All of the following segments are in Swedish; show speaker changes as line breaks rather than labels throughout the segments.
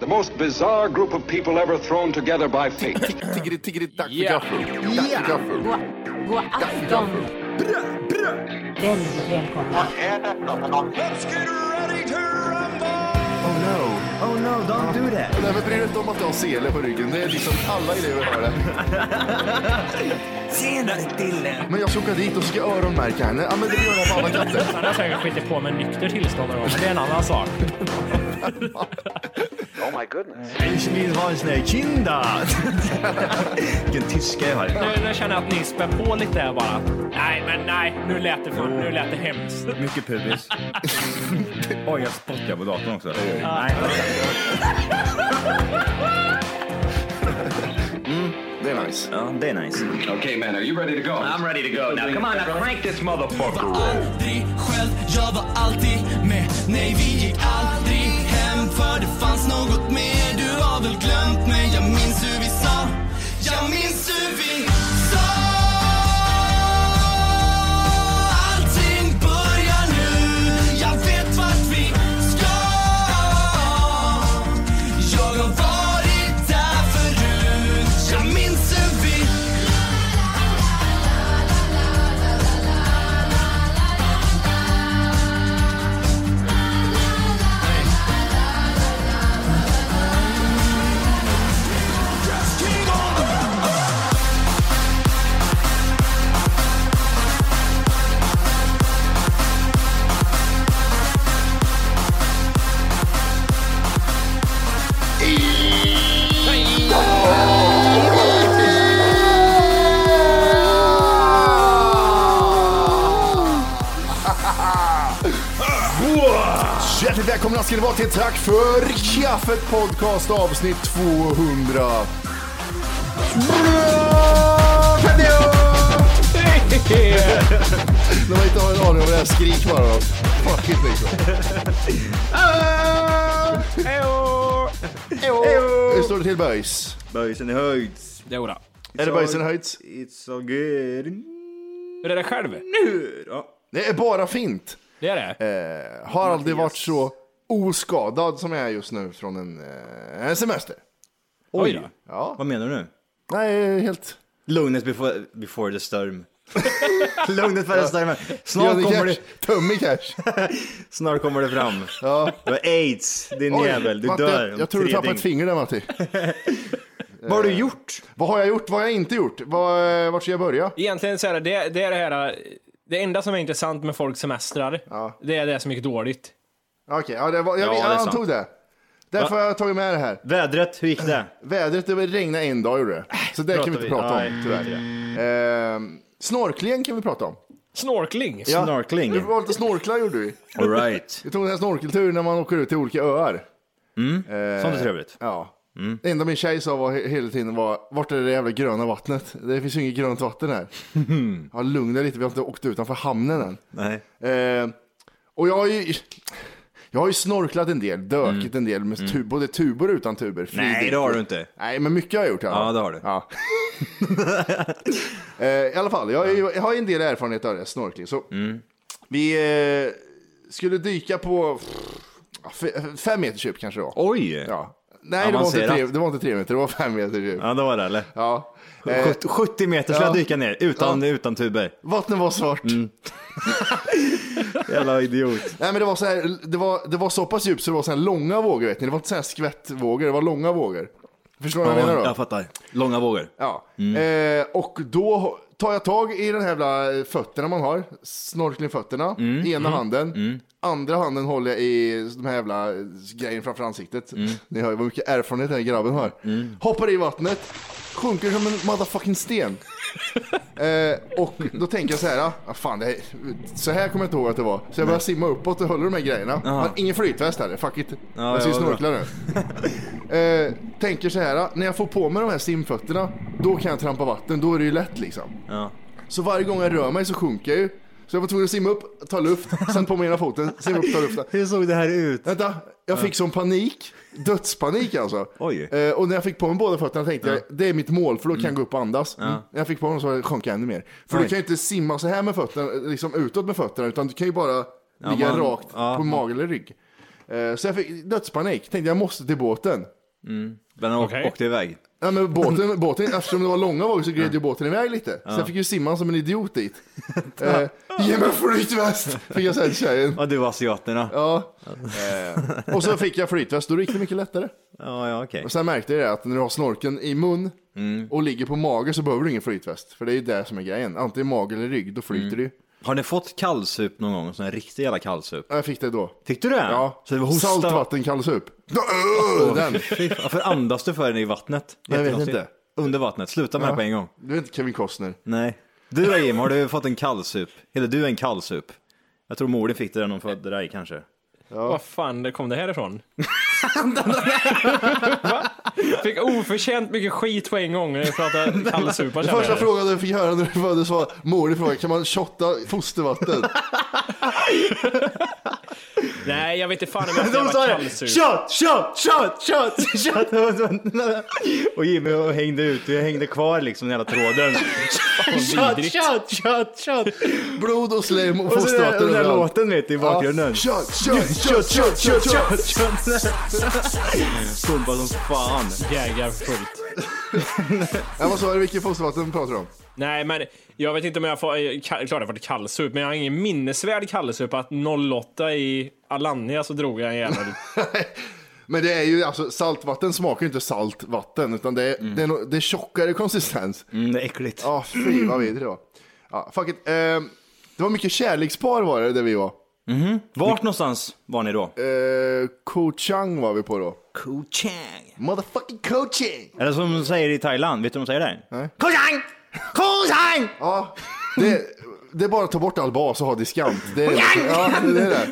The most bizarre group of people ever thrown together by fate.
Tiggeri, tiggeri, dack för
Ja.
gaffel. Dack för gaffel.
God afton! Väldigt välkomna.
Oh no.
Oh no, don't do that.
Nej men bry dig inte om att du har sele på ryggen. Det är liksom alla elever har det.
Senare Dille.
Men jag ska åka dit och ska öronmärka henne. Ja men det gör jag på alla katter.
Han har säkert skitit på med nykter tillstånd någon gång, men det är en annan sak.
Ich vill ha en sån här kinda. Vilken tyska jag har.
Nu, nu känner jag att ni spär på lite här bara. Nej, men nej, nu lät det, för, nu lät det hemskt.
Mycket pubis. Oj, jag spottar på datorn också. Nej.
Det är nice.
Ja, det är nice.
okay, man, are you ready to go?
I'm ready to go now. Come on, now crank this motherfucker.
aldrig själv, jag var alltid med Nej, vi gick aldrig hem för det fanns något mer Du har väl glömt mig, jag minns hur vi sa Jag minns hur vi sa Allting börjar nu Jag vet vart vi ska Jag har varit där förut Jag minns hur vi
Hjärtligt välkomna ska ni vara till Tack för kaffet podcast avsnitt 200. Bra! Pedio! När man inte har en aning om det här, skrik bara då. Fuck it liksom. Hur står det till böjs?
Böjsen i höjds.
Jodå.
Är det böjsen höjts?
It's so good.
Hur är det själv?
Ja.
Det är bara fint.
Det är det?
Eh, har aldrig varit så oskadad som jag är just nu från en, eh, en semester.
Oj då.
Ja.
Vad menar du nu?
Nej, helt...
Lugnet before, before the storm. Lugnet före stormen. Snart
Johnny
kommer,
Cash.
det,
Tummy cash.
snart kommer det fram. Ja. Du har aids, din jävel. Du
Matti,
dör om
Jag tror du
tre
tappade
dygn.
ett finger där Matti.
Vad har du gjort?
Vad har jag gjort? Vad har jag inte gjort? Vad, eh, vart ska jag börja?
Egentligen så är det, det, det är det här, eh, det enda som är intressant med folks semestrar, det är det som gick dåligt.
Okej, ja, det var, jag,
Ja, det är
jag
sant.
antog det. Därför har jag tagit med det här.
Vädret, hur gick det?
Vädret, det regnade en dag gjorde det. Så det kan vi
pratar
inte
vi-
prata
nej,
om tyvärr. Eh, snorklingen kan vi prata om.
Snorkling!
Snorkling.
Vi var lite snorklar gjorde vi.
All right.
Vi tog den här snorkelturen när man åker ut till olika öar.
Sånt är trevligt.
Ja.
Mm.
Det enda min tjej sa var he- hela tiden var, vart är det jävla gröna vattnet? Det finns ju inget grönt vatten här. ja, lugna dig lite, vi har inte åkt utanför hamnen än.
Nej.
Eh, och jag har ju... Jag har ju snorklat en del, dökit en del, med tu- både tubor och utan tuber.
Mm. Nej,
Fridyk.
det har du inte.
Nej, men mycket har jag gjort. i alla
Ja,
fall.
det har du.
Ja. eh, I alla fall, jag, har ju- jag har ju en del erfarenhet av det, snorkling. Så
Mm.
Vi eh, skulle dyka på ja, f- fem meters djup kanske då.
Oj!
Ja. Nej, det var, inte
Avancerat.
tre, det var inte tre meter, det var fem meter djup. Ja.
Ja, det var det eller?
Eh,
70 70 meter ska
ja.
jag dyka ner utan, utan tuber.
vattnet var svart.
Jävla idiot.
Nej, men det var, så här, det, var, det var så pass djupt så det var så här långa vågor, vet ni. Det var inte så här skvättvågor, det var långa vågor. Förstår du vad jag menar då?
jag fattar. Långa vågor.
Ja.
Mm.
Eh, och då tar jag tag i den här jävla fötterna man har, snorklingfötterna,
Mm,
ena handen. Andra handen håller jag i de här jävla grejen framför ansiktet.
Mm.
Ni hör ju vad mycket erfarenhet den här grabben har. Hoppar i vattnet, sjunker som en motherfucking sten. eh, och då tänker jag så här, ah, fan, det här, så här kommer jag inte ihåg att det var. Så jag börjar simma uppåt och håller de här grejerna. Men ingen flytväst heller, fuck it. jag ska ju
ja, bra.
snorkla nu. Eh, tänker så här, när jag får på mig de här simfötterna, då kan jag trampa vatten, då är det ju lätt liksom.
Ja.
Så varje gång jag rör mig så sjunker jag ju. Så jag var tvungen att simma upp, ta luft, sen på med ena foten, simma upp, ta luft.
Hur såg det här ut?
Vänta, jag fick sån panik, dödspanik alltså.
Oj. Mm.
Eh, och när jag fick på mig båda fötterna tänkte jag, det är mitt mål för då kan jag gå upp och andas. Mm. När jag fick på dem så sjönk jag ännu mer. För du
Oj.
kan ju inte simma så här med fötterna, liksom utåt med fötterna, utan du kan ju bara ligga
man-
rakt
ja.
på mage eller rygg. Eh, så jag fick dödspanik, tänkte jag måste till båten.
Men han
Okej.
åkte iväg.
Nej, men båten, båten, eftersom det var långa vågor så gled ju båten iväg lite. Så jag fick ju simma som en idiot dit. eh, Ge mig flytväst! Fick jag säga till tjejen.
Ja, du var asiaterna. Ja,
Ja. Eh, och så fick jag flytväst, då gick det mycket lättare.
ja, okej.
Och sen märkte jag det att när du har snorken i mun
Mm.
och ligger på mage så behöver du ingen flytväst. För det är ju det som är grejen. Antingen mage eller rygg, då flyter
Mm.
du ju.
Har ni fått kallsup någon gång? Sån här riktig jävla kallsup?
Ja, Jag fick det då.
Fick du det?
Ja,
Så det var hosta?
saltvattenkallsup. öh, Den.
Fy fan, Varför andas du för den i vattnet?
Jag vet
Jättekonstigt.
inte.
Under vattnet, sluta med det på en gång.
Du är inte Kevin Costner.
Nej. Du då Jim, har du fått en kallsup? Eller du är en kallsup? Jag tror morden fick det när de födde dig kanske.
Vad fan det kom det här ifrån? Va? Fick oförtjänt mycket skit på en gång när jag pratade kallsupa känner
Första
jag.
frågan du fick höra när du föddes var, mor frågade, kan man shotta fostervatten?
Nej, jag vet inte fan om jag
De sa
var
det!
kallsup.
Shot, shot, shot, shot, shot! Och Jimmy hängde ut, jag hängde kvar liksom den jävla tråden. Shot,
vidrigt.
shot, shot, shot!
Blod och slem och
Och så den
fostervatten
där, den där
överallt.
låten vet du, i bakgrunden.
Kött, kött, kött,
Shot, shot,
kött,
shot,
kött,
shot,
kött.
shot! Pumpa som fan.
Gaggar fullt.
Ja, vad sa du, vilket fostervatten pratar du om?
Nej, men jag vet inte om jag får... eh, ka- Klart jag har varit kallsup, men jag har ingen minnesvärd kallsup att 08 i Alanya så drog jag en jävla...
Men det är ju, alltså saltvatten smakar ju inte saltvatten, utan det är, det är, nog- det är tjockare konsistens.
Mm, det är äckligt.
Ja, fy vad vidrigt det var. Ja, fuck it. Ehm, det var mycket kärlekspar var det där vi var.
Vart någonstans var ni då?
Eh, Kochang var vi på då.
Kuchang.
Motherfucking coaching!
Eller som de säger i Thailand, vet du vad de säger där? Nej.
Ja, det, det är bara att ta bort all bas och ha diskant. Det är, ja, det är det.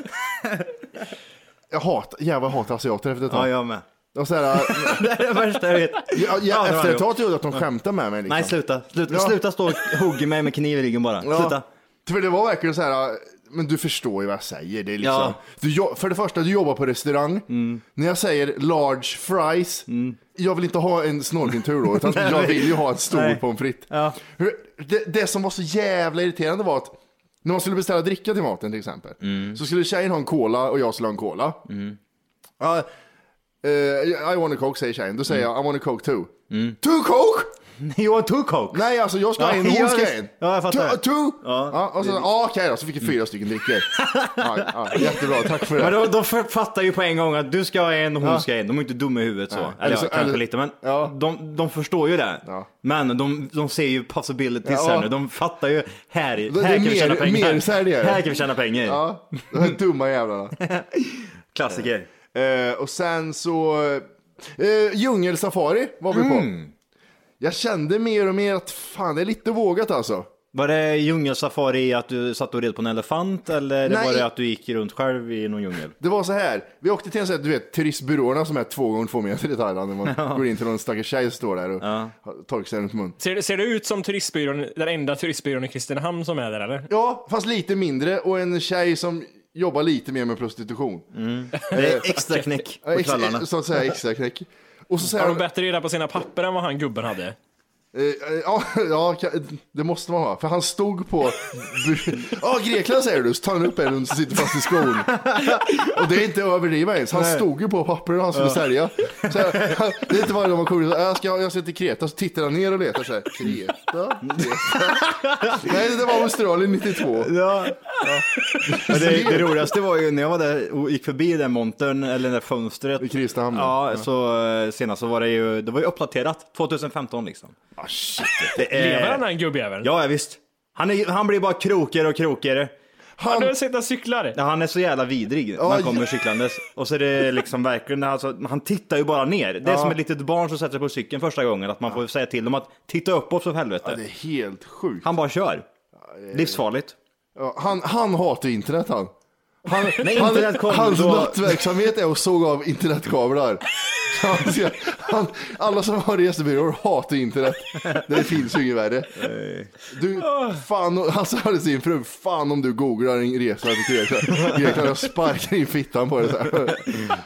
Jag hatar, jävlar jag hatar asiater efter ett
Ja,
tag.
jag med.
Och så här,
Det är det värsta jag vet.
ja, ja,
det var
efter
det.
ett tag trodde jag att de skämtade med mig. Liksom.
Nej, sluta. Sluta,
Ja.
sluta stå och hugga mig med kniv i ryggen bara.
Ja,
Sluta.
För det var verkligen så här, men du förstår ju vad jag säger. Det är liksom,
Ja. Mm.
du, jo- för det första, du jobbar på restaurang. När jag säger large fries, jag vill inte ha en snorkeltur då, utan jag vill ju ha en stor
Nej.
pommes frites.
Ja.
Hur- Det, det som var så jävla irriterande var att när man skulle beställa dricka till maten till exempel,
Mm.
så skulle tjejen ha en cola och jag skulle ha en cola. Ja, eh, I want a coke säger tjejen, då säger
Mm.
jag I want a coke too. Two coke!
You want two coke?
Nej, alltså jag ska ha en och
Ja,
hon
jag
ska ha
visst.
en.
Ja, jag fattar.
Two, two.
Ja.
Ja. och så, ja, okej då, så fick jag fyra stycken drickor. Ja, ja, jättebra, tack för
Men
det.
då, då fattar ju på en gång att du ska ha en och hon ska ha en. De är inte dumma i huvudet så.
Nej.
Eller
Eller
så,
så-
kanske
eller-
lite, men
Ja.
de, de förstår ju det.
Ja.
Men de, de ser ju possibilities
Ja.
här nu. De fattar ju, här, här
det
kan
är
vi tjäna
mer-
pengar.
mer säljare.
här kan vi tjäna pengar.
Ja, de här dumma jävlarna.
Klassiker.
Eh, och sen så, eh, djungelsafari var vi på.
Mm.
Jag kände mer och mer att fan, det är lite vågat alltså.
Var det djungelsafari att du satt och red på en elefant eller
Nej.
var det att du gick runt själv i någon djungel?
Det var så här, vi åkte till en sån här, du vet, turistbyråerna som är två gånger två meter i Thailand. När man går in till någon stackars tjej som står där och har torkar runt mun.
Ser, ser det ut som turistbyrån, den enda turistbyrån i Kristinehamn som är där eller?
Ja, fast lite mindre och en tjej som jobbar lite mer med prostitution.
Det är extra knäck
Ja,
på
Eh, ex-
kvällarna.
Så att säga extra knäck. Och så säger
Har de
han,
bättre reda på sina papper än vad han gubben hade?
eh, eh, ja, ja, ka- det måste man ha, för han stod på, ja Grekland säger du, så tar han upp en och sitter fast i skon. Och det är inte att överdriva ens, han stod ju på pappret han skulle sälja. Så här, han- det är inte varje gång man kommer ut, jag ska, jag ska till Kreta, så tittar han ner och letar så här, Kreta, Kreta. Nej, det var Australien 92.
Ja. Men Det, det roligaste var ju när jag var där och gick förbi den montern eller det där fönstret.
I Kristinehamn.
Ja, så eh, senast så var det ju, det var ju uppdaterat 2015 liksom.
Ah, shit.
Det är-
Lever han den gubbjäveln?
Ja, ja, visst. Han, är, han blir bara krokigare och krokigare.
Han har sett och cyklar.
Ja, Han är så jävla vidrig när han
Ja,
kommer
ja.
cyklandes. Och så är det liksom verkligen, alltså, han tittar ju bara ner. Det är som ett litet barn som sätter sig på cykeln första gången, att man får säga till dem att titta uppåt för
Ja,
helvete.
det är helt sjukt.
Han bara kör. Livsfarligt.
Ja, han, han hatar ju internet han. han
Nej,
han
internet kom
hans
då.
nattverksamhet är att såga av internetkablar. Han, ska- han, alla som har resebyråer hatar internet. Det finns ju inget värre. Du, fan, han sa det till sin fru, fan om du googlar en resa till Grekland. Grekland, jag sparkar in fittan på dig så här.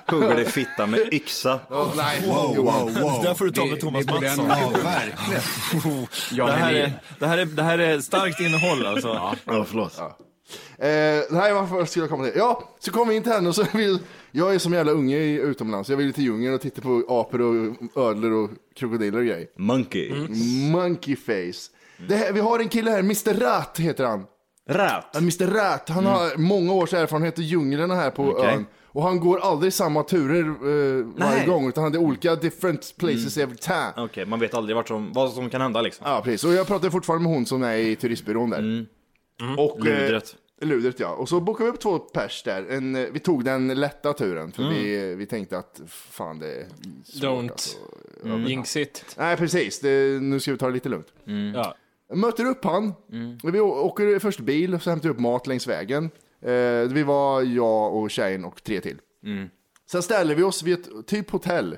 Hugger dig i fittan med yxa.
Oh, nej, Johan.
Där får du ta med Thomas Mattsson. det, här är, det, här är, det här är starkt innehåll alltså.
Ja, förlåt.
Eh, nej, varför skulle jag komma till? Ja, så kom vi in till henne och så vill... Jag är som jävla unge i utomlands. Jag vill till djungeln och titta på apor och ödlor och krokodiler och grejer.
Monkey.
Mm.
Monkey face. Det här, vi har en kille här, Mr Rat heter han.
Rat.
Ja, Mr Rat, han har många års erfarenhet av djunglerna här på
Mm. Okej.
ön. Och han går aldrig samma turer eh, varje
Nej. Mm.
gång, utan han är olika different places every time.
Okej, man vet aldrig vart som, vad som kan hända liksom.
Ja, precis. Och jag pratade fortfarande med hon som är i turistbyrån där. Och, eh,
Mm. Ludret.
Ludret, ja. Och så bokade vi upp två pers där. En, eh, vi tog den lätta turen,
Mm.
för vi, vi tänkte att fan det är svårt
Don't.
Alltså.
Jinx it.
Nej, precis. Det, nu ska vi ta det lite lugnt.
Ja.
Möter upp han. Och Vi å- åker först bil och så hämtar vi upp mat längs vägen. Eh, vi var jag och tjejen och tre till. Sen ställer vi oss vid ett typ hotell.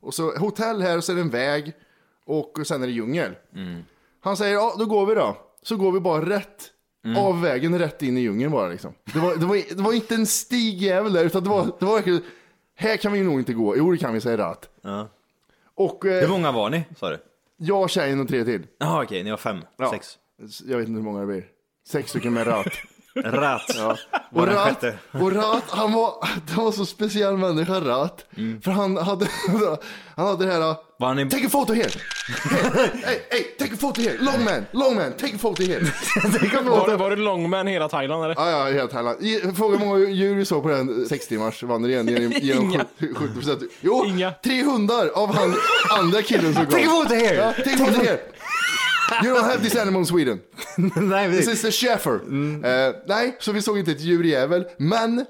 Och så hotell här och sen en väg och sen är det djungel. Han säger, ja då går vi då. Så går vi bara rätt av vägen rätt in i djungeln bara liksom. Det var, det var, det var inte en stigjävel där utan det var, det var verkligen, här kan vi nog inte gå. Jo det kan vi, säger Rat. Och
Hur
eh,
många var ni, sa du?
jag, tjejen och tre till.
Jaha okej, ni var fem,
Ja.
sex.
Jag vet inte hur många det blir. Sex stycken med Rat.
Rat.
Och
den
Rat,
sjätte.
och Rat, han var, det var så speciell människa Rat. För han hade, han hade det här, uh,
Var han i...
take a photo here! Hey, hey, hey, take a photo here! Long man, long man, take a photo here! Det kan
Var,
låta...
du- var du långman hela Thailand eller?
Ja, ja, helt härligt. I- Fråga hur många djur vi såg på den 6 timmars vandringen genom, genom
Inga.
70 procent. Jo,
Inga.
tre hundar av han andra killen som kom. Take a photo here! Ja, take a photo here! You don't have this animal in Sweden.
Nej,
This
precis. Mm.
is the Sheffer. Eh, nej, så vi såg inte ett djurjävel, men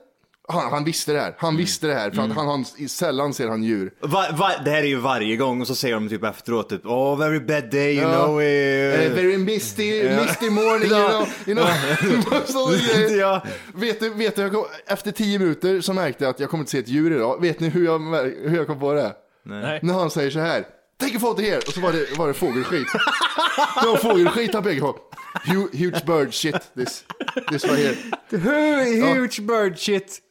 han, han visste det här. Han
Mm.
visste det här, för att han, han, sällan ser han djur.
Va, va, det här är ju varje gång och så säger de typ efteråt typ Oh very bad day you
Ja.
know. eh."
Eh, very misty, misty morning, you know. You know. Sådana grejer.
Ja.
Vet du, vet du jag kom, efter tio minuter så märkte jag att jag kommer inte se ett djur idag. Vet ni hur jag, mär- hur jag kom på det?
Nej.
När han säger så här. Take a photo here! Och så var det, var det fågelskit. det var fågelskit han pekade på. Hu- Huge bird shit this, this right here.
Huge bird shit.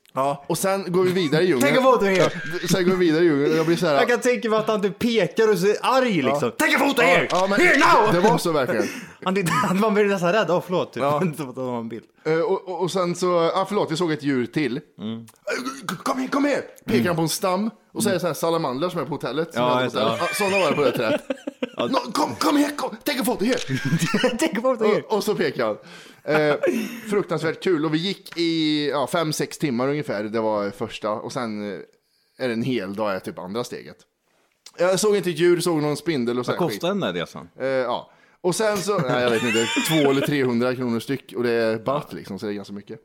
Och sen går vi vidare i djungeln.
Take a photo here.
Sen går vi vidare i djungeln och jag blir så här.
Jag kan tänka mig att han typ pekar och så är arg liksom. Take a photo
ja,
here!
ja, men,
here now!
Det var så verkligen.
Han, han, man blir nästan rädd. Åh förlåt. Typ. Ja. det var en bild.
Eh, och, och, och sen så, ah, förlåt, vi såg ett djur till. Eh, Kom här, kom här! Pekar han på en stam och säger så här salamandrar som är på hotellet. Som
Ja,
ja,
just
hotellet.
det,
Ah, sådana var det på det trädet. No, kom, kom här, kom! Take a photo here!
Take a photo here.
och, och så pekar han. Eh, fruktansvärt kul och vi gick i ja, fem, sex timmar ungefär. Det var första och sen eh, är det en hel dag är typ andra steget. Jag såg inte ett djur, såg någon spindel och så här skit.
Kostade den där resan?
Eh, ja. Och sen så, nej jag vet inte, två eller 300 kronor styck och det är baht liksom, så det är ganska mycket.
Ja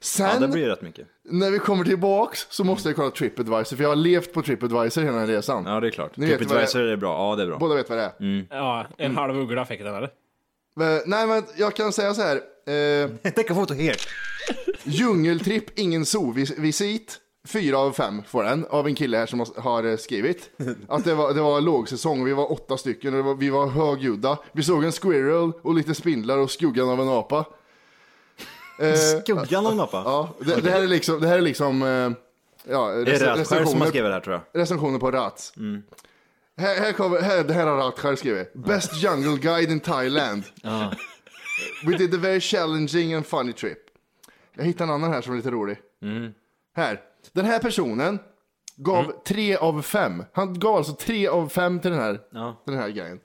Sen
det blir ju rätt mycket.
när vi kommer tillbaks så måste jag kolla Tripadvisor, för jag har levt på Tripadvisor hela den här resan.
Ja Mm. det är klart.
Ni vet vad
Tripadvisor är bra, ja det är bra.
Båda vet vad det är.
Ja,
Mm.
en halv uggla fick den eller?
Men, nej men jag kan säga så här, eh,
Take a photo here.
djungeltripp, ingen zoo-visit. Fyra av fem får den av en kille här som har- har eh, skrivit. Att det var, det var lågsäsong, vi var åtta stycken och det var, vi var högljudda. Vi såg en squirrel och lite spindlar och skuggan av en apa. Eh,
Skuggan av en apa?
Ja, det, det här är liksom, det här är liksom eh, ja,
Det är
rec-
Rat själv som har
recensioner,
skrivit Mm. det här tror jag.
recensioner på Rats. Här, här kommer, här, det här har Rat själv skrivit. Best jungle guide in Thailand. We did a very challenging and funny trip. Jag hittade en annan här som är lite rolig.
Mm.
Här, den här personen gav tre av fem. Han gav alltså tre av fem till den här,
Ja.
den här grejen.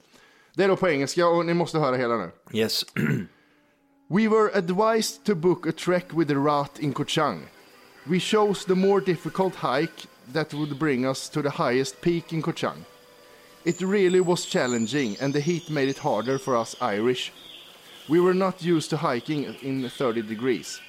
Det är då på engelska och ni måste höra hela nu.
Yes.
We were advised to book a trek with the rat in Koh Chang. We chose the more difficult hike that would bring us to the highest peak in Koh Chang. It really was challenging and the heat made it harder for us Irish. We were not used to hiking in 30 degrees.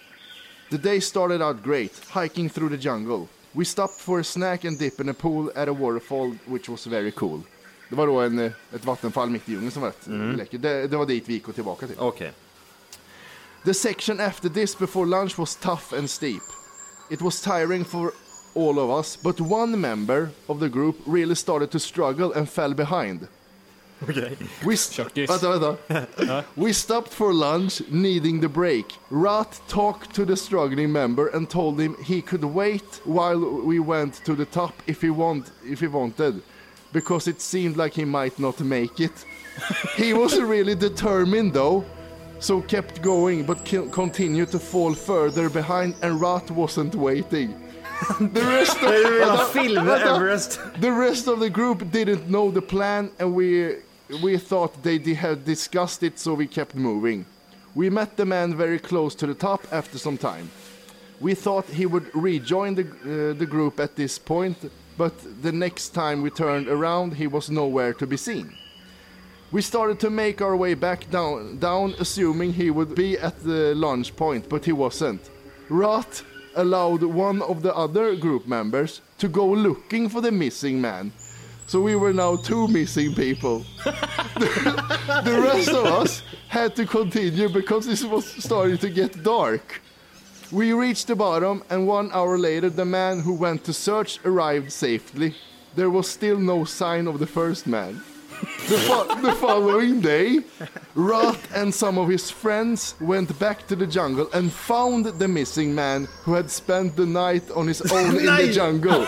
The day started out great, hiking through the jungle. We stopped for a snack and dip in a pool at a waterfall which was very cool. Det var då en, eh, ett vattenfall mitt i djungeln som var rätt mm. läckert. Det, det var dit vi gick och tillbaka till.
Okej.
The section after this before lunch was tough and steep. It was tiring for all of us, but one member of the group really started to struggle and fell behind. Okay. We, st-
Tjockis.
vänta, vänta. we stopped for lunch, needing the break. Rat talked to the struggling member and told him he could wait while we went to the top if he want if he wanted, because it seemed like he might not make it. He was really determined though, so kept going but ki- continued to fall further behind and Rot wasn't waiting. The rest of,
Hela filmen
Vänta.
Everest.
the rest of the group didn't know the plan and we we thought they di- had discussed it so we kept moving. We met the man very close to the top after some time. We thought he would rejoin the, uh, the group at this point, but the next time we turned around, he was nowhere to be seen. We started to make our way back down, down assuming he would be at the launch point, but he wasn't. Rot allowed one of the other group members to go looking for the missing man. So we were now two missing people. the, the rest of us had to continue because it was starting to get dark. We reached the bottom, and one hour later, the man who went to search arrived safely. There was still no sign of the first man. The, fo- the following day, Roth and some of his friends went back to the jungle and found the missing man who had spent the night on his own in the
Nej.
jungle.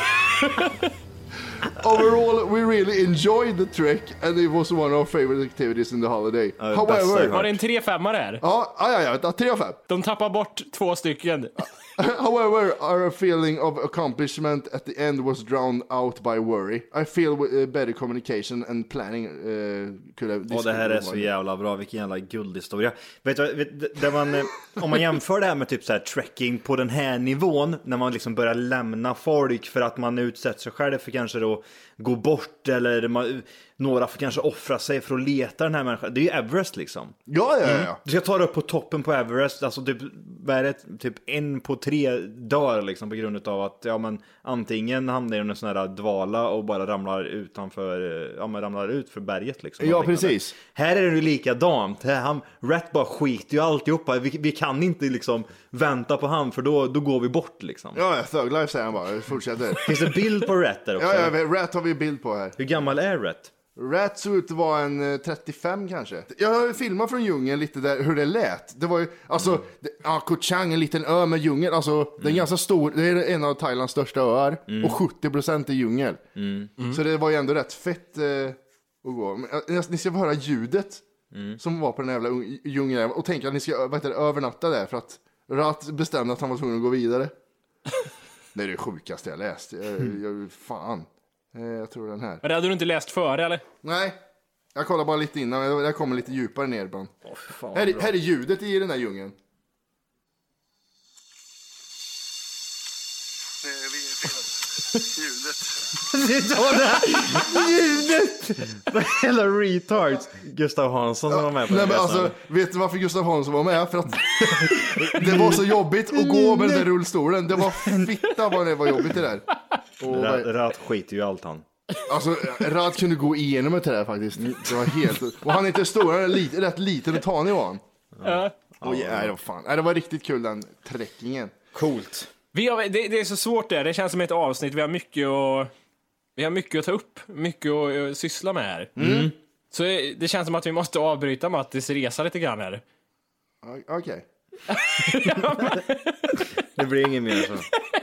Overall, we really enjoyed the trek and it was one of our favorite activities in the holiday.
det bästa jag
However,
hört.
Var det en 3-5 där?
ja, ja, ja, ja, tre av fem.
De tappar bort två stycken.
However, our feeling of accomplishment at the end was drowned out by worry. I feel uh, better communication and planning uh, could have...
Och det här är så jävla bra, vilken jävla guldhistoria. Vet du, vet, där man, eh, om man jämför det här med typ så här trekking på den här nivån, när man liksom börjar lämna folk för att man utsätter sig själv för kanske då gå bort eller man, några får kanske offra sig för att leta den här människan. Det är ju Everest liksom.
Ja, ja, ja.
Du ska ta dig upp på toppen på Everest, alltså typ, vad är det, typ en på tre dör liksom på grund av att ja, men, antingen hamnar i en sån här dvala och bara ramlar utanför, eh, ja men ramlar ut för berget liksom.
Ja,
Och liknande.
precis.
Här är det ju likadant, Här, han, Rat bara skiter ju i alltihopa, vi, vi kan inte liksom vänta på han för då, då går vi bort liksom.
Ja, ja, Thug Life säger han bara. Fortsätter.
Finns det bild på Rat där också?
Ja, ja, Rat har vi bild på här.
Hur gammal är Rat?
Rat såg ut att vara en eh, 35 kanske. Jag har ju filmat från djungeln lite där hur det lät. Det var ju, alltså, det- ja, Koh Chang, en liten ö med djungel. Alltså, den är ganska stor. Det är en av Thailands största öar och 70% är djungel. Så det var ju ändå rätt fett eh, att gå. Men, eh, ni ska få höra ljudet som var på den jävla ung- djungeln och tänka att ni ska vad heter det, övernatta där för att Rat bestämde att han var tvungen att gå vidare. det är det sjukaste jag läst. Jag, jag, fan. Eh, Jag tror den här.
Men det hade du inte läst före eller?
Nej, jag kollar bara lite innan. Jag jag kommer lite djupare ner ibland. här, är- här är ljudet i den här djungeln.
Hela retards! Gustav Hansson som var med på
Nej,
den
men
resan.
alltså, vet du varför Gustav Hansson var med? För att det var så jobbigt att gå med den där rullstolen. Det var fitta vad det var jobbigt det där. Och,
Rat, Rat skiter ju i allt han.
alltså, Rad kunde gå igenom det där faktiskt. Det var helt... Och han är inte stor, han är lite, rätt liten och tanig var han.
Ja.
Oj, nej, det var fan. Nej, det var riktigt kul den träckingen.
Coolt.
Vi har, det, det är så svårt det. Det känns som ett avsnitt. Vi har mycket att, vi har mycket att ta upp. Mycket att eh, syssla med här.
Mm.
Så eh, det känns som att vi måste avbryta Mattis resa lite grann här.
Ja, Okej.
Det blir ingen mer så.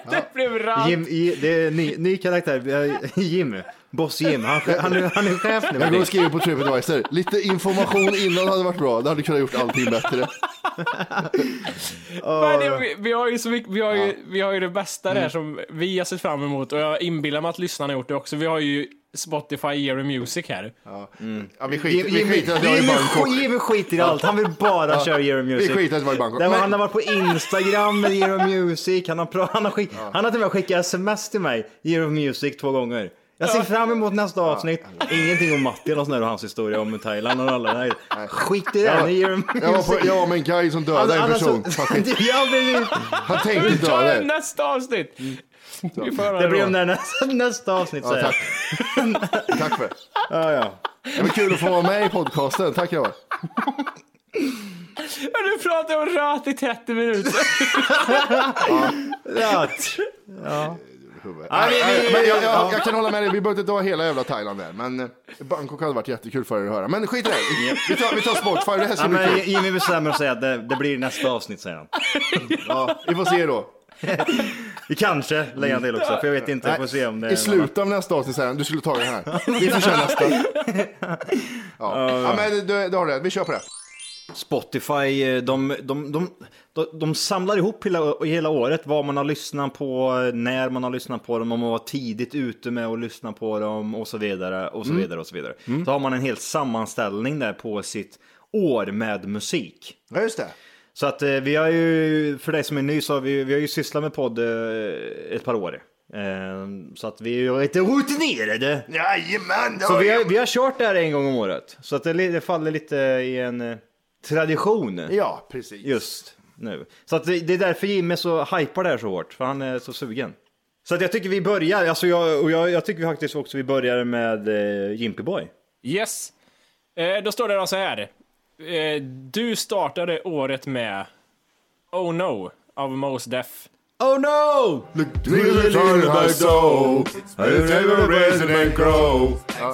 Det blev rant.
Jim, i- det är en ny, ny karaktär, Eh, Jim. Boss Jim, han, han, är- han är chef nu.
Jag går och skriver på Tripadvisor. Lite information innan hade varit bra. Det hade kunnat gjort allting bättre.
Men det, vi, vi har ju så mycket, vi har ju, vi har ju det bästa
Mm.
där som vi har sett fram emot och jag inbillar mig att lyssnarna har gjort det också. Vi har ju Spotify Year Music här.
Ja, vi skiter,
Jim-
vi
Jimmy,
skiter att jag är i
Jimmy
Bangkok.
sk- Jimmy skiter i allt, han vill bara köra Euro Music.
Vi skiter att jag var i Bangkok.
Där var,
Men-
han har varit på Instagram med Euro Music, han har, pra- han har, skick, han har till och med skickat sms till mig, Euro Music två gånger. Jag ser fram emot nästa avsnitt. Ingenting om Matti eller sån där och hans historia om Thailand och alla där. Skit i det, han är Euro Music.
Jag var, på, jag var med en guy som dödade en person. Fucking-
Ja, precis.
Han tänkte
Ta
döda
det
en.
nästa avsnitt! Vi får höra
Mm. Det blir
då.
om det här nästa, nästa avsnitt
Ja,
säger jag.
tack. tack för det.
Ja, ja.
Det var kul att få vara med i podcasten. Tack grabbar.
Ja, Du pratar om röt i 30 minuter.
Rätt.
Nej,
vi-
nej,
vi-
men jag, jag, jag kan hålla med dig, vi behöver inte ta hela jävla Thailand där. Men eh, Bangkok hade varit jättekul för er att höra. Men skit i det. Vi tar, vi tar Spotify, det här ska
Ja,
bli
men
kul.
Jimmy bestämmer sig att det, det blir nästa avsnitt säger han.
Ja, vi får se då.
Kanske lägger han till också, för jag vet inte. Jag får se om det
I
är någon-
slutet av nästa avsnitt säger han, du skulle ta det här. Vi får köra nästa. Ja, ja men du, du har rätt, vi kör på det.
Spotify, eh, de, de, de, de, de samlar ihop hela, hela året vad man har lyssnat på, eh, när man har lyssnat på dem, om man var tidigt ute med att lyssna på dem och så vidare och så vidare och så vidare. Så har man en hel sammanställning där på sitt år med musik.
Ja, just det.
Så att eh, vi har ju, för dig som är ny, så har vi, vi har ju sysslat med podd eh, ett par år. Eh, så att vi är ju lite rutinerade.
Jajamän!
Så vi har, vi har kört det här en gång om året. Så att det, li- det faller lite i en eh, tradition
Ja, precis.
just nu. Så att det, det är därför Jimmy så hypar det här så hårt, för han är så sugen. Så att jag tycker vi börjar, alltså jag, och jag, jag tycker faktiskt också vi börjar med eh, Jimpyboy.
Yes. Eh, då står det då så här. Eh, du startade året med Oh No av Mos Def.
Oh no!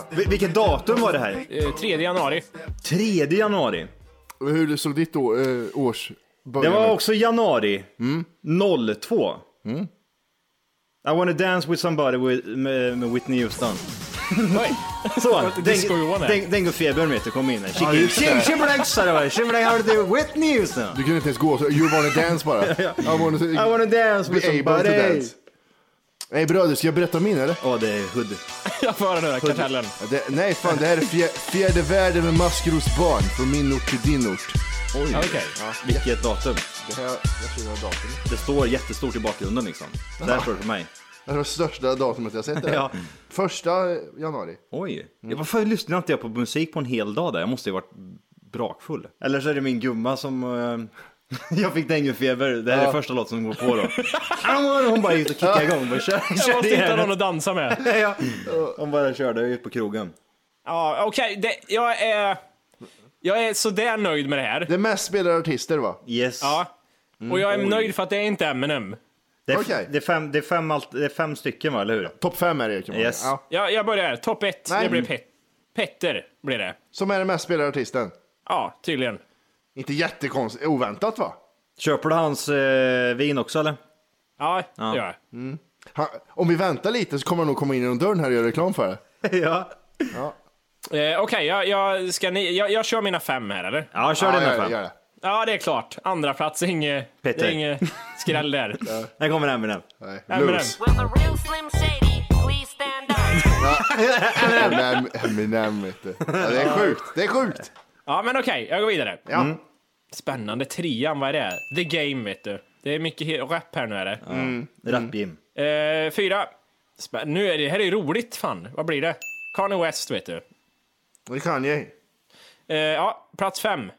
Vil- vilket datum var det här?
Eh, 3 januari.
3 januari.
Hur såg ditt år, eh, års
Det
början
var
ut?
också januari 02. I wanna dance with somebody with, med, med Whitney Houston.
Oj.
Så,
Disco-Johan
den,
där.
den, den går febern vet du, kom in här.
Ja, just det.
Tjing tjimmeläng sa det var, tjimmeläng hörde du Whitney Houston.
Du kunde inte ens gå, så you wanna dance bara. I wanna,
I wanna dance with
be able to
somebody.
dance. Nej bröder, ska jag berätta min eller?
Åh, det är hood.
Jag får höra nu då, kartellen.
Det, nej fan, det här är fjär, fjärde världen med maskrosbarn från min ort till din ort.
Oj,
Ja, okej.
vilket datum.
Det här, jag tror det var datum.
Det står jättestort i bakgrunden liksom. Där står det för mig.
Det var största datumet jag sett. det här.
Ja.
Första januari.
Oj, mm. varför lyssnade inte jag på musik på en hel dag där? Jag måste ju varit brakfull. Eller så är det min gumma som... eh, jag fick denguefeber, det här är första låten som går på då. Ah, Hon bara gick och kickade igång. Bara, kör,
Jag
kör
måste hitta någon
igen.
att dansa med.
Ja. Hon bara körde ut på krogen.
Ja, okej. det- Jag är... Jag är sådär nöjd med det här.
Det mest spelade artister va?
Yes.
Ja. Och jag är nöjd för att det är inte Eminem.
Det, är,
Okej.
det, är fem, det, är fem, allt- det är fem stycken va, eller hur?
Topp fem är det kan man
Yes.
säga. ja.
Jag, jag börjar. Topp 1.
Nej.
Det blir pet Petter. Blir det.
Som är den mest spelade artisten.
Ja, tydligen.
Inte jättekonstigt, oväntat va?
Köper du hans eh, vin också eller?
Ja, det gör jag.
Han, om vi väntar lite så kommer han nog komma in genom dörren här och göra reklam för det.
ja.
Eh, Okej, jag, jag, ska ni- jag, jag kör mina fem här eller?
Ja, kör den
gör
här
det,
fram.
gör det.
Ja, det är klart. Andra plats är inget
Petter.
det är inget skräll där.
Här kommer Eminem.
Nej,
Eminem.
Loose.
Will the real Slim Shady please stand up?
Eminem, Eminem vet du. Ja, det är sjukt, det är sjukt.
Ja, men okej, jag går vidare.
Ja.
Spännande. Trean, vad är det? The Game, vet du. Det är mycket he- rap här nu är det.
Mm. Rapp-Jim.
Eh, fyra. Spä- nu är det, här är ju roligt, fan. Vad blir det? Kanye West, vet du.
Det kan jag.
Eh, ja, plats fem.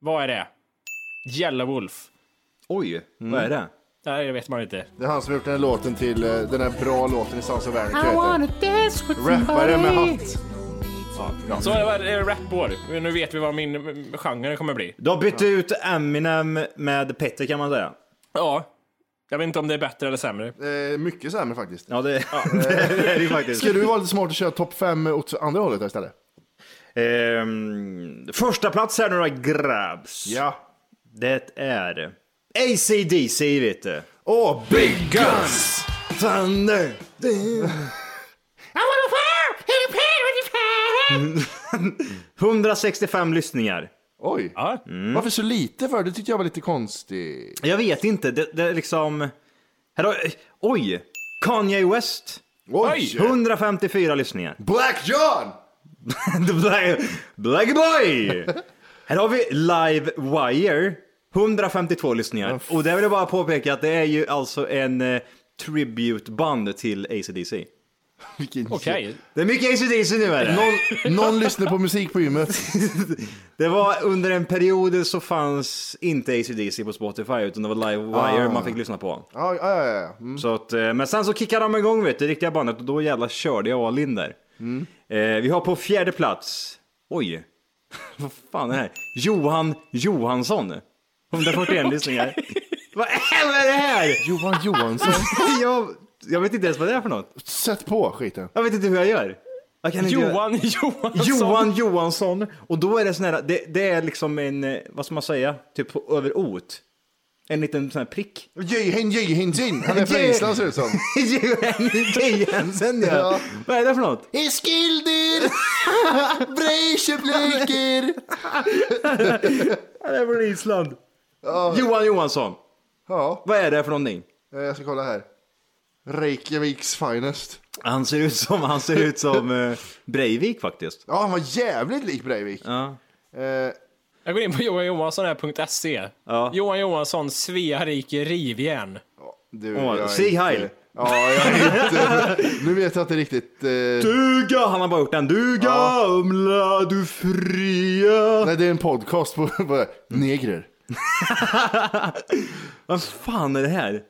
Vad är det? Yellow Wolf.
Oj, vad är det?
Nej, det vet man inte.
Det är han som har gjort den här låten till eh, den här bra låten i Sons of Anarchy. Rappare med hatt.
Så det var eh, rapår. Nu vet vi vad min mm, genre kommer bli.
Du har bytt ut Eminem med Petter kan man säga.
Ja. Jag vet inte om det är bättre eller sämre.
Eh, mycket sämre faktiskt.
Ja, det, det är det ju faktiskt.
Ska du vara lite smart och köra topp fem åt andra hållet där istället?
Ehm, första plats här nu då, grabs.
Ja.
Det är ACDC vet du.
Åh, Big Guns!
Thunder! Mm. 165 lyssningar.
Oj.
Ja.
Varför så lite för? Det tyckte jag var lite konstigt.
Jag vet inte, det, det är liksom... Här har, oj! Kanye West.
Oj!
154 lyssningar.
Black John!
The Black, Black Boy! Här har vi Live Wire. 152 lyssningar. Och det vill jag bara påpeka att det är ju alltså en eh, tributband till AC/DC.
Vilken
Okej.
Det är mycket AC/DC nu är det.
Någon, någon lyssnar på musik på gymmet.
Det var under en period så fanns inte AC/DC på Spotify utan det var Live Wire man fick lyssna på.
Ja, ja, ja, ja. Mm.
Så att, eh, men sen så kickade de igång vet du, riktiga bandet och då jävla körde jag all in där. Eh, vi har på fjärde plats, oj, vad fan är det här? Johan Johansson. 141 lyssningar. Vad är vad är det här?
Johan Johansson.
Jag, jag vet inte ens vad det är för något.
Sätt på skiten.
Jag vet inte hur jag gör. Jag kan inte göra-
Johan Johansson.
Johan Johansson. Och då är det sån här, det, det är liksom en, eh, vad ska man säga, typ på- över ot. En liten sån här prick.
Jihin, jihin, jin. Han är från Island ser det ut som.
Jay Jensen ja.
Ja.
Vad är det för något?
Eskildir! Breisjebliker!
Han är från Island. Johan Johansson.
Ja,
Vad är det för någonting?
eh, jag ska kolla här. Reykjaviks finest.
Han ser ut som, han ser ut som eh, Breivik faktiskt.
Ja, han var jävligt lik Breivik.
Ja.
Eh,
Jag går in på johanjohansson.se.
Ja.
E. Johan Johansson, Svea rike rivjärn.
du,
Åh,
jag är
Sieg
inte-
Heil.
Ja, jag är inte... Nu vet jag inte riktigt. Eh...
Duga! Han har bara gjort den. Du gamla, du fria.
Nej, det är en podcast på, på negrer.
Vad fan är det här?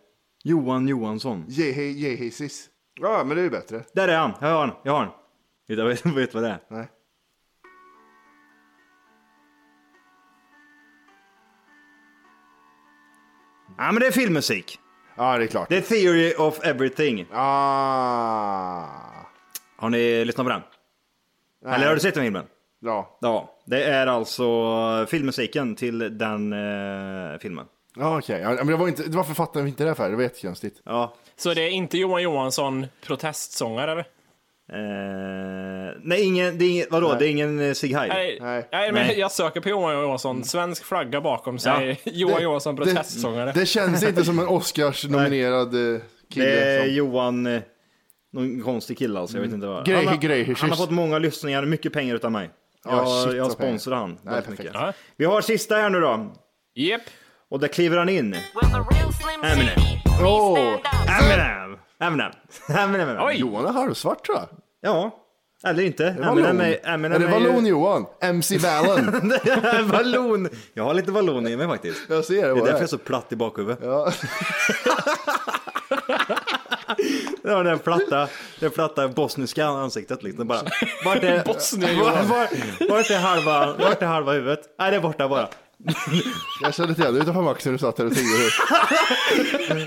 Johan Johansson.
Jehi- Jehisis. Ja, men det är ju bättre.
Där är han. Jag har han. Jag har han. Vet du vet, vet vad det är?
Nej.
Ja men det är filmmusik.
Ja, det är klart.
Det är Theory of Everything.
Ah.
Har ni lyssnat på den? Eller har du sett den filmen?
Ja.
Ja. Det är alltså filmmusiken till den eh, filmen.
Ja, okej. Ja, men det var inte... Varför fattade vi inte det här för? Det var jättekonstigt.
Ja.
Så det är inte Johan Johansson, protestsångare eller?
Eh, nej, ingen, det är ingen, vadå? Det är ingen eh, Sieg Heil?
Nej,
Nej. Mm.
nej. men
Nej.
jag söker på Johan Johansson, svensk flagga bakom sig. Johan Johansson,
Det,
protestsångare.
det känns inte som en Oscars-nominerad eh,
Det
kille.
är
som...
Johan, eh, någon konstig kille alltså, jag vet inte vad.
Grejer,
han, har,
grejer,
han har
skyss.
fått många lyssningar, mycket pengar utav mig.
Ja, shit,
jag jag
vad pengar.
sponsrar han
Nej,
väldigt
perfekt.
mycket.
Ja.
Vi har sista här nu då.
Jep.
Och där kliver han in.
Will the real Slim
Eminem.
Shady please
Oh.
stand up?
Eminem! Eminem! Eminem! Eminem.
Oj.
Johan är halvsvart tror jag.
Ja, eller inte.
Vallon.
Eminem är,
är
Eminem
det
är ju-
vallon Johan? MC Vallon.
Vallon! Jag har lite vallon i mig faktiskt.
Jag ser det
Det är
bara.
därför jag är så platt i bakhuvudet. det var den platta, den platta bosniska ansiktet liksom bara. Vart är,
Bosnien,
var,
Johan.
var, vart är halva, vart är halva huvudet? Nej, det är borta bara.
Jag kände till det utanför Maxen du satt där och tiggde.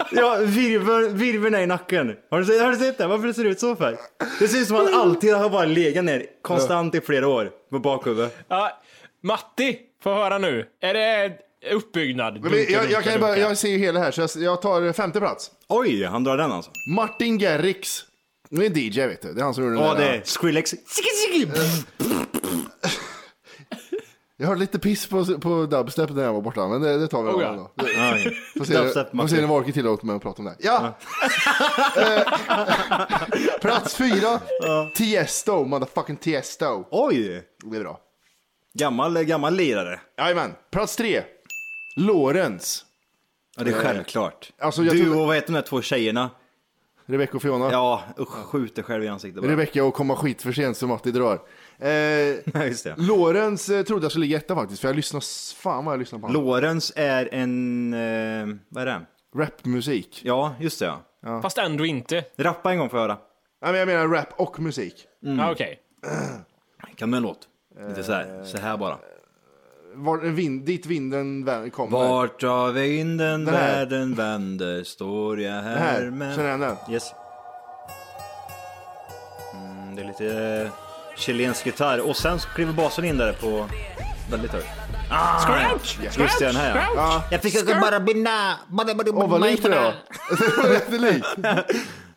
Ja, virveln, virveln är i nacken. Har du, sett, har du sett det? Varför det ser ut så för? Det ser ut som att han alltid har bara legat ner konstant i flera år på bakhuvudet.
Ja, Matti, få höra nu. Är det uppbyggnad?
Men
Dunka,
vi- Jag,
dunka,
jag, kan ju bara,
dunka.
jag ser ju hela här så jag, jag tar femte plats.
Oj, han drar den alltså.
Martin Garrix. Det är en DJ vet du. Det är han som gjorde den
Ja,
där.
det är Skrillex.
Jag hörde lite piss på, på dubstep när jag var borta. Men det, det tar vi
Oh,
någon
ja.
annan dag. Det-
Oj.
Får se,
Dubstep,
får se
Martin.
när Valke tillåter mig att prata om det. här. Ja! Eh, Plats fyra. Tiesto, motherfucking Tiesto.
Oj,
Det är bra.
gammal, gammal lirare.
Jajamän. Plats tre. Lorenz.
Ja, det är självklart.
Eh, Alltså, jag
du
tror-
och vad heter de där två tjejerna?
Rebecca och Fiona.
Ja, usch, skjuter själv i ansiktet bara.
Rebecca och komma skit för sent som Matti drar. Eh,
Ja, just det.
Lorenz eh, trodde jag skulle ligga etta faktiskt, för jag lyssnar, s- fan vad jag lyssnar på honom.
Lorenz är en, eh, vad är det?
Rapmusik.
Ja, just det ja.
Fast ändå inte.
Rappa en gång får jag höra.
Nej men jag menar rap och musik.
Ja, Okej.
Kan du en låt? Lite så här,
Eh,
så här bara.
Var, vind, dit vinden vä- kommer.
Vart av vinden
Den här.
världen vänder står jag här,
Den här,
med...
känner jag den?
Yes. Mm, det är lite eh, chilensk gitarr och sen så kliver basen in där på väldigt högt. Ah, Scratch! Just det, den här ja. Jag fick bara binda...
Åh vad likt det var. Det var jättelikt.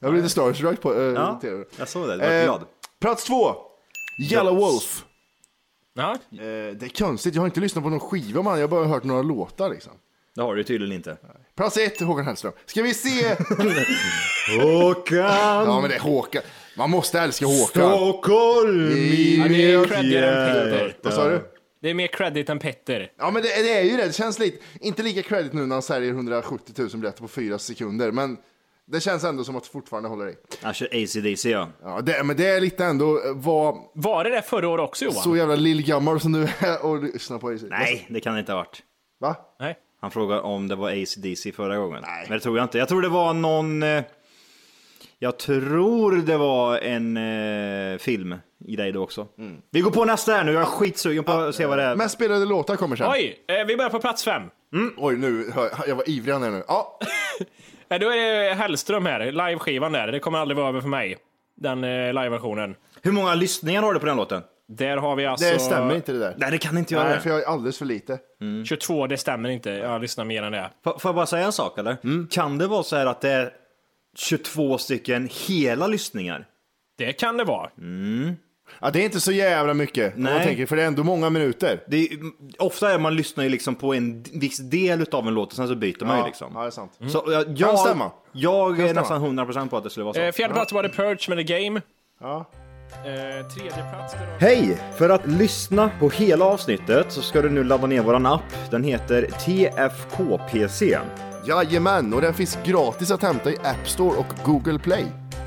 Jag blev lite starstruck på eh,
Ja,
TV.
jag såg det. Du var glad.
Plats två. Yellow Wolf.
Ja.
Eh, det är konstigt, jag har inte lyssnat på någon skiva man, jag har bara hört några låtar liksom.
Det har du tydligen inte.
Plats ett, Håkan Hellström. Ska vi se?
Håkan!
Ja men det är Håkan. Man måste älska Håkan.
Stockholm i
Ja, det är
mitt
creddigare än Peter.
Vad sa du?
Det är mer credit än Petter.
Ja men det, det är ju det, det känns lite, inte lika credit nu när han säljer 170 000 biljetter på fyra sekunder, men det känns ändå som att det fortfarande håller i.
Han kör ACDC ja.
Ja, det, men det är lite ändå, eh, vad
Var det det förra året också Johan?
så jävla lillgammal som du är och lyssnar på det.
Nej, det kan det inte ha varit.
Va?
Nej.
Han frågade om det var ACDC förra gången. Nej. Men det tror jag inte. Jag tror det var någon... eh, Jag tror det var en eh, film i dig då också.
Mm.
Vi går på nästa här nu. Jag är skitsugen på att se vad det är.
Mest spelade låtar kommer sen. Oj,
Oj, eh, vi börjar på plats fem.
nu, hör jag- jag var ivrig här nu. Ja,
Eh, Då är det Hellström här, liveskivan där. Det kommer aldrig vara över för mig. Den eh, liveversionen.
Hur många lyssningar har du på den låten?
Där har vi alltså...
Det stämmer inte det där.
Nej, det kan inte göra
Nej,
det.
för jag är alldeles för lite.
22, det stämmer inte. Jag lyssnar mer än det.
F- Får jag bara säga en sak eller?
Mm.
Kan det vara så här att det är 22 stycken hela lyssningar?
Det kan det vara.
Mm. Ja, det är inte så jävla mycket, om man
Nej.
tänker, för det är ändå många minuter.
Det är, ofta är man lyssnar ju liksom på en d- viss del av en låt och sen så byter man ju liksom.
ja, det är sant. Mm.
Så jag, jag,
stämma.
jag är
stämma.
nästan 100% på att det skulle vara så.
Eh, Fjärde plats var det Purge med The Game.
Ja.
Eh, tredje plats... där har-
Hej! För att lyssna på hela avsnittet så ska du nu ladda ner våran app. Den heter TFKPC.
Jajamän, och den finns gratis att hämta i App Store och Google Play.